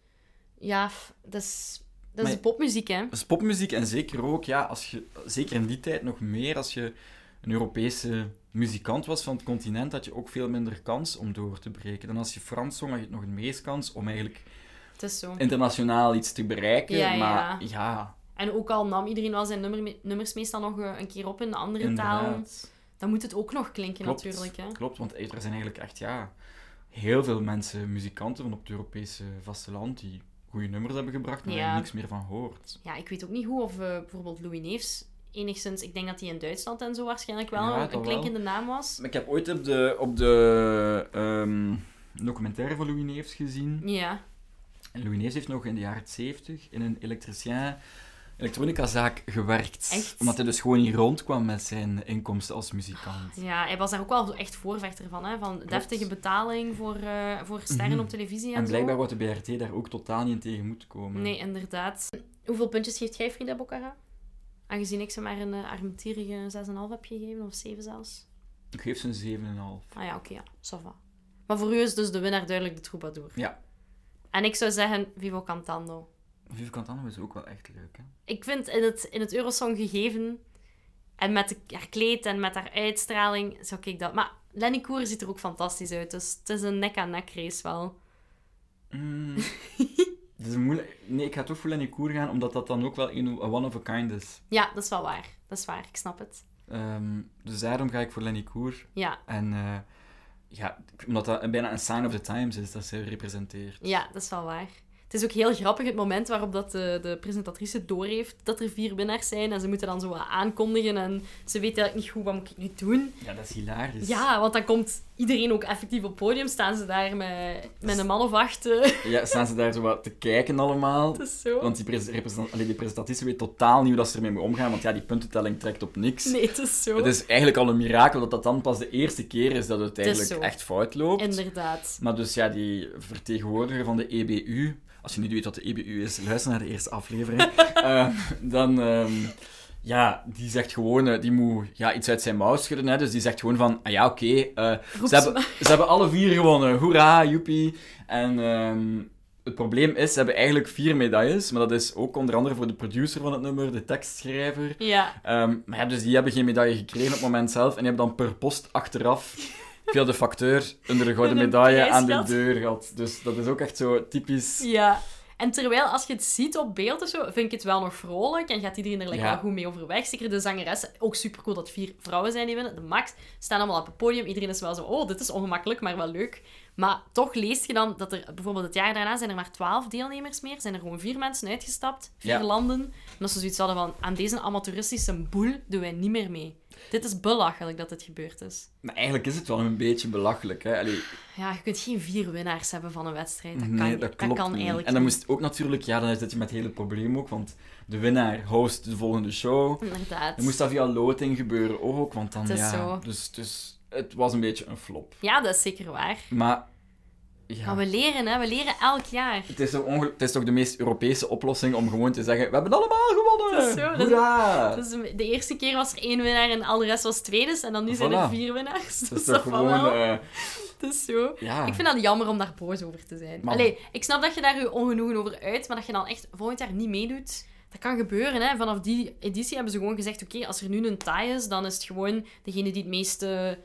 S1: Ja, f- dat is, dat is
S2: Maar-
S1: de popmuziek, hè.
S2: Dat is popmuziek en zeker ook, ja, als je, zeker in die tijd nog meer, als je een Europese muzikant was van het continent, had je ook veel minder kans om door te breken. Dan als je Frans zong, had je nog het meest kans om eigenlijk
S1: Het is zo.
S2: internationaal iets te bereiken.
S1: Ja, ja.
S2: maar ja,
S1: En ook al nam iedereen wel zijn nummer, me- nummers meestal nog eh, een keer op in de andere taal,
S2: inderdaad.
S1: dan moet het ook nog klinken
S2: Klopt,
S1: natuurlijk, hè.
S2: Klopt, want er zijn eigenlijk echt ja, heel veel mensen, muzikanten van op het Europese vasteland, die goede nummers hebben gebracht, maar
S1: Ja.
S2: waar je niks meer van hoort.
S1: Ja, ik weet ook niet hoe of eh, bijvoorbeeld Louis Neefs enigszins... Ik denk dat hij in Duitsland en zo waarschijnlijk wel
S2: Ja,
S1: een-
S2: dat
S1: een
S2: wel.
S1: klinkende naam was.
S2: Maar Ik heb ooit op de, op de ehm, documentaire van Louis Neefs gezien.
S1: Ja.
S2: En Louis Neefs heeft nog in de jaren 70 in een elektricien elektronicazaak gewerkt.
S1: Echt?
S2: Omdat hij dus gewoon hier rondkwam met zijn inkomsten als muzikant.
S1: Ja, hij was daar ook wel echt voorvechter van, hè? van deftige betaling voor, eh, voor sterren
S2: Mhm.
S1: op televisie en,
S2: En blijkbaar
S1: zo.
S2: wordt de BRT daar ook totaal niet in tegen moeten komen.
S1: Nee, inderdaad. Hoeveel puntjes geeft jij, Frida Boccara? Aangezien ik ze maar een eh, armetierige 6,5 heb gegeven, of 7 zelfs.
S2: Ik geef ze een 7,5.
S1: Ah ja, oké, ja, ça va. Maar voor u is dus de winnaar duidelijk de troubadour.
S2: Ja.
S1: En ik zou zeggen, vivo cantando.
S2: Vive Cantano is ook wel echt leuk, hè?
S1: Ik vind in het, in het Eurosong gegeven, en met de- haar kleed en met haar uitstraling, zou ik dat... Maar Lenny Koer ziet er ook fantastisch uit, dus het is een nek-aan-nek race wel.
S2: Mm. [LAUGHS] Het is moeilijk. Nee, ik ga toch voor Lenny Koer gaan, omdat dat dan ook wel een een one of a kind is.
S1: Ja, dat is wel waar. Dat is waar, ik snap het.
S2: Ehm, dus daarom ga ik voor Lenny Koer.
S1: Ja,
S2: En eh, ja, omdat dat een- bijna een sign of the times is dat ze representeert.
S1: ja dat is wel waar. Het is ook heel grappig het moment waarop dat de, de presentatrice doorheeft dat er vier winnaars zijn. En ze moeten dan zo wat aankondigen en ze weet eigenlijk niet goed, wat moet ik nu doen?
S2: Ja, dat is hilarisch.
S1: Ja, want dan komt iedereen ook effectief op het podium. Staan ze daar met, met een man of acht. eh, [LAUGHS]
S2: Ja, staan ze daar zo wat te kijken allemaal.
S1: Dat is zo.
S2: Want die, pres- represent- allee, die presentatrice weet totaal niet hoe dat ze ermee moet omgaan, want ja, die puntentelling trekt op niks.
S1: Nee, het is zo.
S2: Het is eigenlijk al een mirakel dat dat dan pas de eerste keer is dat het
S1: is
S2: eigenlijk
S1: zo.
S2: echt fout loopt.
S1: Inderdaad.
S2: Maar dus ja, die vertegenwoordiger van de EBU, als je niet weet wat de EBU is, luister naar de eerste aflevering. Eh, dan, ehm, ja, die zegt gewoon, eh, die moet ja, iets uit zijn mouw schudden. Hè, dus die zegt gewoon van, ah ja, oké, eh,
S1: Roep
S2: ze,
S1: ze
S2: hebben, ze hebben alle vier gewonnen. Hoera, joepie. En ehm, het probleem is, ze hebben eigenlijk vier medailles, maar dat is ook onder andere voor de producer van het nummer, de tekstschrijver.
S1: Ja,
S2: Ehm, maar ja, dus die hebben geen medaille gekregen op het moment zelf. En die hebben dan per post achteraf via de facteur
S1: [LAUGHS]
S2: een gouden
S1: Een
S2: medaille
S1: prijs
S2: aan de
S1: gehad.
S2: deur gehad. Dus dat is ook echt zo typisch.
S1: ja. En terwijl, als je het ziet op beeld of zo, vind ik het wel nog vrolijk. En gaat iedereen er lekker
S2: Ja.
S1: wel goed mee overweg. Zeker de zangeressen. Ook supercool dat vier vrouwen zijn die winnen. De max staan allemaal op het podium. Iedereen is wel zo, oh, dit is ongemakkelijk, maar wel leuk. Maar toch leest je dan dat er bijvoorbeeld het jaar daarna zijn er maar twaalf deelnemers meer. Zijn er gewoon vier mensen uitgestapt. Vier
S2: Ja.
S1: landen. En dat ze zoiets hadden van, aan deze amateuristische boel doen wij niet meer mee. Dit is belachelijk dat dit gebeurd is.
S2: Maar eigenlijk is het wel een beetje belachelijk. Hè? Allee,
S1: Ja, je kunt geen vier winnaars hebben van een wedstrijd. Dat kan,
S2: nee,
S1: niet.
S2: dat klopt
S1: kan
S2: niet.
S1: eigenlijk
S2: En dan
S1: niet.
S2: moest ook natuurlijk... Ja, dan zit je met het hele probleem ook, want de winnaar host de volgende show.
S1: Inderdaad.
S2: Dan moest dat via loting gebeuren ook, want dan...
S1: Het is
S2: ja,
S1: zo.
S2: Dus, dus het was een beetje een flop.
S1: Ja, dat is zeker waar.
S2: Maar... Ja.
S1: Maar we leren, hè. We leren elk jaar.
S2: Het is, toch ongel- het is toch de meest Europese oplossing om gewoon te zeggen: We hebben allemaal gewonnen!
S1: Dat is zo, dat is-
S2: Hoera!
S1: Dus de eerste keer was er één winnaar en al de rest was tweede. En dan nu zijn er
S2: Voilà.
S1: vier winnaars.
S2: Dat
S1: Dus
S2: is
S1: [LAUGHS] dat
S2: toch
S1: valt
S2: gewoon.
S1: wel.
S2: eh,
S1: Het is zo.
S2: ja.
S1: Ik vind dat jammer om daar boos over te zijn.
S2: Maar-
S1: Allee, ik snap dat je daar je ongenoegen over uit, maar dat je dan echt volgend jaar niet meedoet. Dat kan gebeuren, hè. Vanaf die editie hebben ze gewoon gezegd, oké, als er nu een tie is, dan is het gewoon degene die het meeste...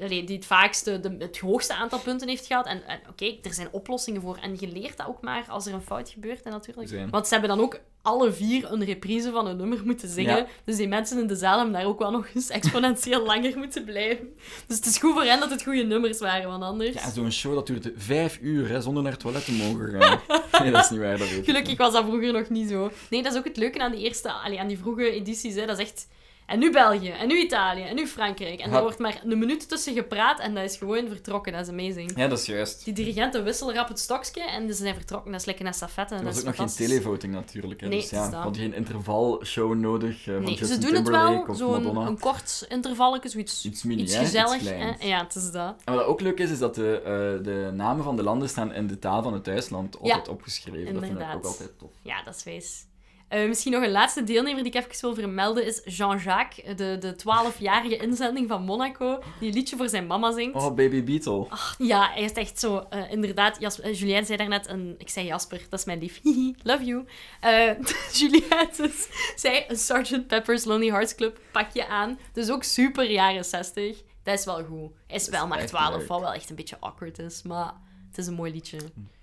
S1: allee, die het vaakste, de- het hoogste aantal punten heeft gehad. En, en oké, er zijn oplossingen voor. En je leert dat ook maar als er een fout gebeurt, hè, natuurlijk.
S2: Zijn.
S1: Want ze hebben dan ook alle vier een reprise van een nummer moeten zingen.
S2: Ja.
S1: Dus die mensen in de zaal hebben daar ook wel nog eens [LAUGHS] exponentieel langer moeten blijven. Dus het is goed voor hen dat het goede nummers waren, want anders...
S2: Ja, zo'n show dat duurt vijf uur hè, zonder naar het toilet te
S1: [LAUGHS]
S2: mogen gaan. nee, dat is niet waar. Dat weet ik.
S1: Gelukkig was dat vroeger nog niet zo. Nee, dat is ook het leuke aan die eerste, allee, aan die vroege edities. Hè. Dat is echt... En nu België, en nu Italië, en nu Frankrijk. En
S2: Ja.
S1: daar wordt maar een minuut tussen gepraat en dat is gewoon vertrokken. Dat is amazing.
S2: Ja, dat is juist.
S1: Die dirigenten wisselen rap het stokje en ze zijn vertrokken. Dat is lekker naar stafette. en
S2: Er
S1: Dat
S2: was
S1: is
S2: ook nog geen
S1: fantastisch.
S2: televoting natuurlijk. Hè,
S1: Nee,
S2: dus
S1: het is
S2: ja,
S1: dat.
S2: had geen intervalshow nodig eh, van
S1: Nee,
S2: Justin
S1: ze doen het
S2: Timberlake
S1: wel.
S2: of
S1: Zo'n
S2: Madonna.
S1: een kort intervalletje, zoiets
S2: Iets mini,
S1: iets
S2: hè, iets
S1: gezellig.
S2: kleins.
S1: hè. ja, het is dat.
S2: En wat ook leuk is, is dat de, eh, de namen van de landen staan in de taal van het thuisland altijd
S1: Ja,
S2: opgeschreven. Dat vind
S1: inderdaad.
S2: ik ook altijd tof.
S1: Ja, dat is wees. Eh, misschien nog een laatste deelnemer die ik even wil vermelden is Jean-Jacques, de, de 12-jarige inzending van Monaco, die een liedje voor zijn mama zingt.
S2: Oh, Baby Beetle.
S1: Ja, hij is echt zo. eh, inderdaad, Jas eh, Julien zei daarnet, een, ik zei Jasper, dat is mijn lief. [LAUGHS] Hihi, Love you. Eh [LAUGHS] Julien dus, zei een Sgt. Pepper's Lonely Hearts Club pakje aan. Dus ook super jaren 60. Dat is wel goed. Hij is
S2: is
S1: wel maar
S2: echt
S1: 12,
S2: leuk.
S1: wat wel echt een beetje awkward is, maar het is een mooi liedje.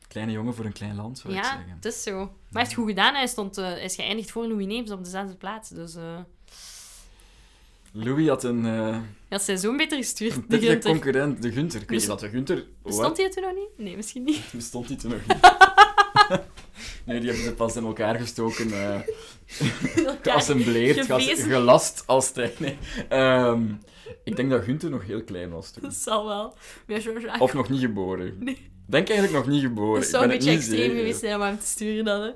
S2: Kleine jongen voor een klein land, zou ik
S1: ja,
S2: zeggen.
S1: het is zo. Maar hij heeft goed gedaan. Hij, stond, eh, hij is geëindigd voor Louis Neems op de zesde plaats. Dus eh
S2: Louis had een, eh
S1: hij had zijn zoon beter gestuurd.
S2: [LAUGHS] een
S1: De
S2: pittige
S1: Gunther.
S2: concurrent, de Gunter. Ik weet
S1: Bes-
S2: niet dat de Gunter...
S1: Bestond hij toen nog niet? Nee, misschien niet. [LAUGHS]
S2: Bestond die toen nog niet? nee, die hebben ze pas in elkaar gestoken, eh [LAUGHS] geassembleerd, geas-
S1: gevezen.
S2: gelast als trein. Nee. Ehm, ik denk dat Gunther nog heel klein was
S1: [LAUGHS]
S2: toen.
S1: Dat zal wel. Maar Jean-Jacques
S2: Of nog niet geboren. Denk eigenlijk nog niet geboren.
S1: Het
S2: ik
S1: zou
S2: ben
S1: een
S2: het
S1: beetje
S2: niet
S1: extreem
S2: zeker.
S1: geweest zijn om hem te sturen dan. Hè.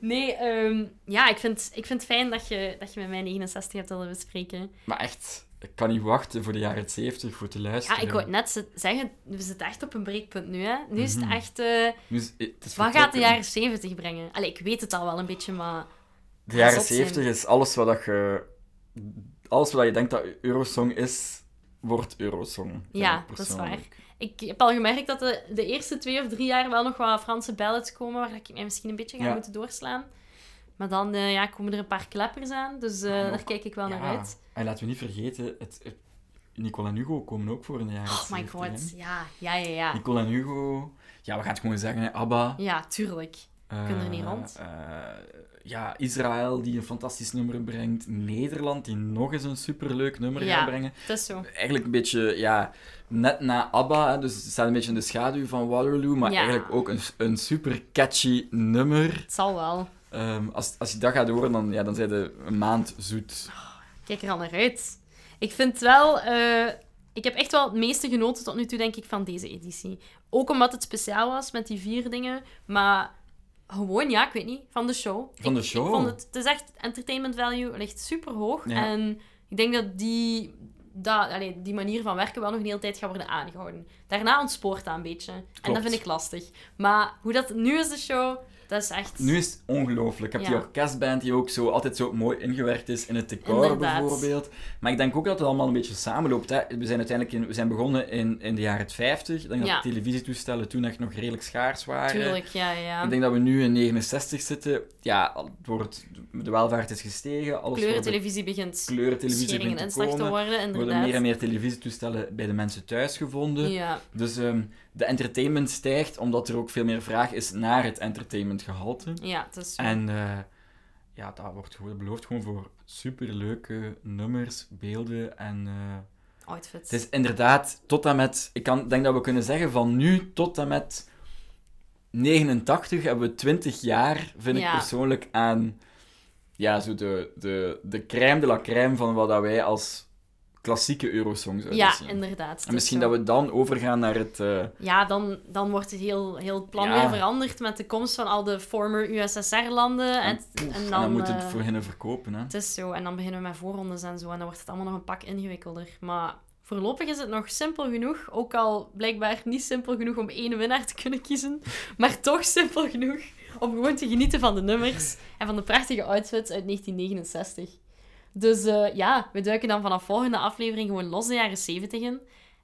S1: Nee, ehm, ja, ik vind, ik vind het fijn dat je, dat je met mij 69 hebt willen bespreken.
S2: Maar echt, ik kan niet wachten voor de jaren 70 voor te luisteren.
S1: Ja, ik wou het net ze- zeggen, we zitten echt op een breekpunt nu, hè. Nu is het
S2: Mhm.
S1: echt... eh,
S2: Nu is- het is
S1: wat gaat de
S2: vertrokken.
S1: jaren 70 brengen? Allee, ik weet het al wel een beetje, maar...
S2: De jaren
S1: zot zijn?
S2: 70 is alles wat dat je... Alles wat je denkt dat Eurosong is, wordt Eurosong. vind
S1: Ja,
S2: ik
S1: dat is
S2: persoonlijk.
S1: waar. Ik heb al gemerkt dat de, de eerste twee of drie jaar wel nog wat Franse ballads komen, waar ik mij misschien een beetje ga
S2: Ja.
S1: moeten doorslaan. Maar dan eh, ja, komen er een paar kleppers aan, dus eh,
S2: Maar Ah, nog-
S1: daar kijk ik wel naar
S2: Ja.
S1: uit.
S2: En laten we niet vergeten, het, het- Nicole en Hugo komen ook voor in de jaren
S1: Oh my
S2: 70,
S1: god,
S2: hè.
S1: ja, ja, ja, ja.
S2: Nicole en Hugo... Ja, we gaan het gewoon zeggen, hè, ABBA.
S1: Ja, tuurlijk. kunnen er niet
S2: Eh,
S1: rond.
S2: eh, ja, Israël die een fantastisch nummer brengt. Nederland die nog eens een superleuk nummer
S1: Ja.
S2: gaat brengen.
S1: Het is zo.
S2: Eigenlijk een beetje, ja, net na ABBA. hè, Dus het staat een beetje in de schaduw van Waterloo. Maar
S1: Ja.
S2: eigenlijk ook een, een super catchy nummer.
S1: Het zal wel.
S2: Ehm, als, als je dat gaat horen, dan, ja, dan zijn de een maand zoet.
S1: Kijk er al naar uit. Ik vind wel... eh, ik heb echt wel het meeste genoten tot nu toe, denk ik, van deze editie. Ook omdat het speciaal was met die vier dingen. Maar gewoon, ja, ik weet niet, van de show.
S2: Van de
S1: Ik-
S2: show.
S1: Ik vond het, het is echt... Entertainment value ligt super hoog.
S2: Oh. Ja.
S1: En ik denk dat die... Dat, allee, die manier van werken wel nog een hele tijd gaat worden aangehouden. Daarna ontspoort dat een beetje. En dat
S2: Klopt.
S1: vind ik lastig. Maar hoe dat nu is, de show, dat is echt...
S2: Nu is het ongelooflijk. Je hebt
S1: Ja.
S2: die orkestband die ook zo, altijd zo mooi ingewerkt is in het decor
S1: Inderdaad.
S2: bijvoorbeeld. Maar ik denk ook dat het allemaal een beetje samenloopt. Hè. We zijn uiteindelijk in, we zijn begonnen in, in de jaren 50. Ik denk
S1: Ja.
S2: dat de televisietoestellen toen echt nog redelijk schaars waren.
S1: Tuurlijk, ja, ja.
S2: eh, Ik denk dat we nu in 69 zitten. Ja, het wordt, de welvaart is gestegen. Alles wordt
S1: Kleurentelevisie begint
S2: kleurentelevisie
S1: scheringen
S2: begint
S1: en
S2: te komen.
S1: slecht te worden,
S2: Er worden meer en
S1: inderdaad.
S2: meer televisietoestellen bij de mensen thuis gevonden.
S1: Ja,
S2: Dus ehm, de entertainment stijgt omdat er ook veel meer vraag is naar het entertainmentgehalte.
S1: ja, het is zo.
S2: En eh, ja, dat wordt gewoon beloofd gewoon voor superleuke nummers, beelden en... eh,
S1: outfits.
S2: het is inderdaad tot en met... Ik kan, denk dat we kunnen zeggen van nu tot en met 89 hebben we 20 jaar, vind
S1: Ja.
S2: ik persoonlijk, aan ja, zo de, de, de crème de la crème van wat dat wij als klassieke Eurosong zouden
S1: ja,
S2: zien.
S1: inderdaad. het
S2: En
S1: is
S2: misschien
S1: zo.
S2: dat we dan overgaan naar het... eh,
S1: Ja, dan, dan wordt het heel, heel het plan
S2: Ja.
S1: weer veranderd met de komst van al de former USSR-landen. En,
S2: poef, en,
S1: en
S2: dan,
S1: dan...
S2: moeten we
S1: eh,
S2: het voor hen verkopen, hè.
S1: Het is zo. En dan beginnen we met voorrondes en zo. En dan wordt het allemaal nog een pak ingewikkelder. Maar voorlopig is het nog simpel genoeg. Ook al blijkbaar niet simpel genoeg om één winnaar te kunnen kiezen. Maar toch simpel genoeg om gewoon te genieten van de nummers. En van de prachtige outfits uit 1969. Dus eh, ja, we duiken dan vanaf volgende aflevering gewoon los de jaren 70 in.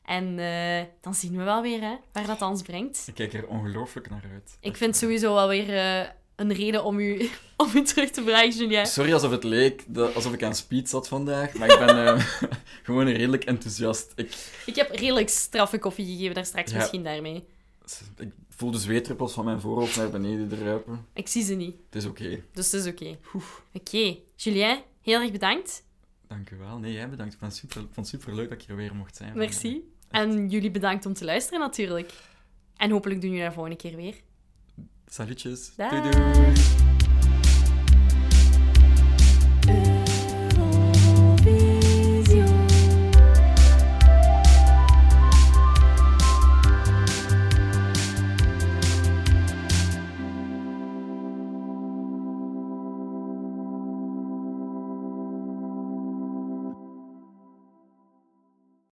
S1: En eh, dan zien we wel weer hè, waar dat ons brengt.
S2: Ik kijk er ongelooflijk naar uit.
S1: Ik vind sowieso wel weer eh, een reden om u, [LAUGHS] om u terug te vragen, Julien.
S2: Sorry alsof het leek dat- alsof ik aan speed zat vandaag, maar ik ben eh, [LAUGHS] gewoon redelijk enthousiast. Ik,
S1: Ik heb redelijk straffe koffie gegeven daar straks,
S2: Ja.
S1: misschien daarmee.
S2: ik voel de zweetruppels van mijn voorhoofd naar beneden druipen.
S1: Ik zie ze niet,
S2: Het is oké.
S1: dus het is oké. Oké, Julien, heel erg bedankt.
S2: Dank u wel. Nee, jij bedankt. Ik ben super, vond het super leuk dat ik hier weer mocht zijn.
S1: Merci. En jullie bedankt om te luisteren natuurlijk. En hopelijk doen jullie dat volgende keer weer.
S2: Salutjes.
S1: Dag.
S2: Doei doei.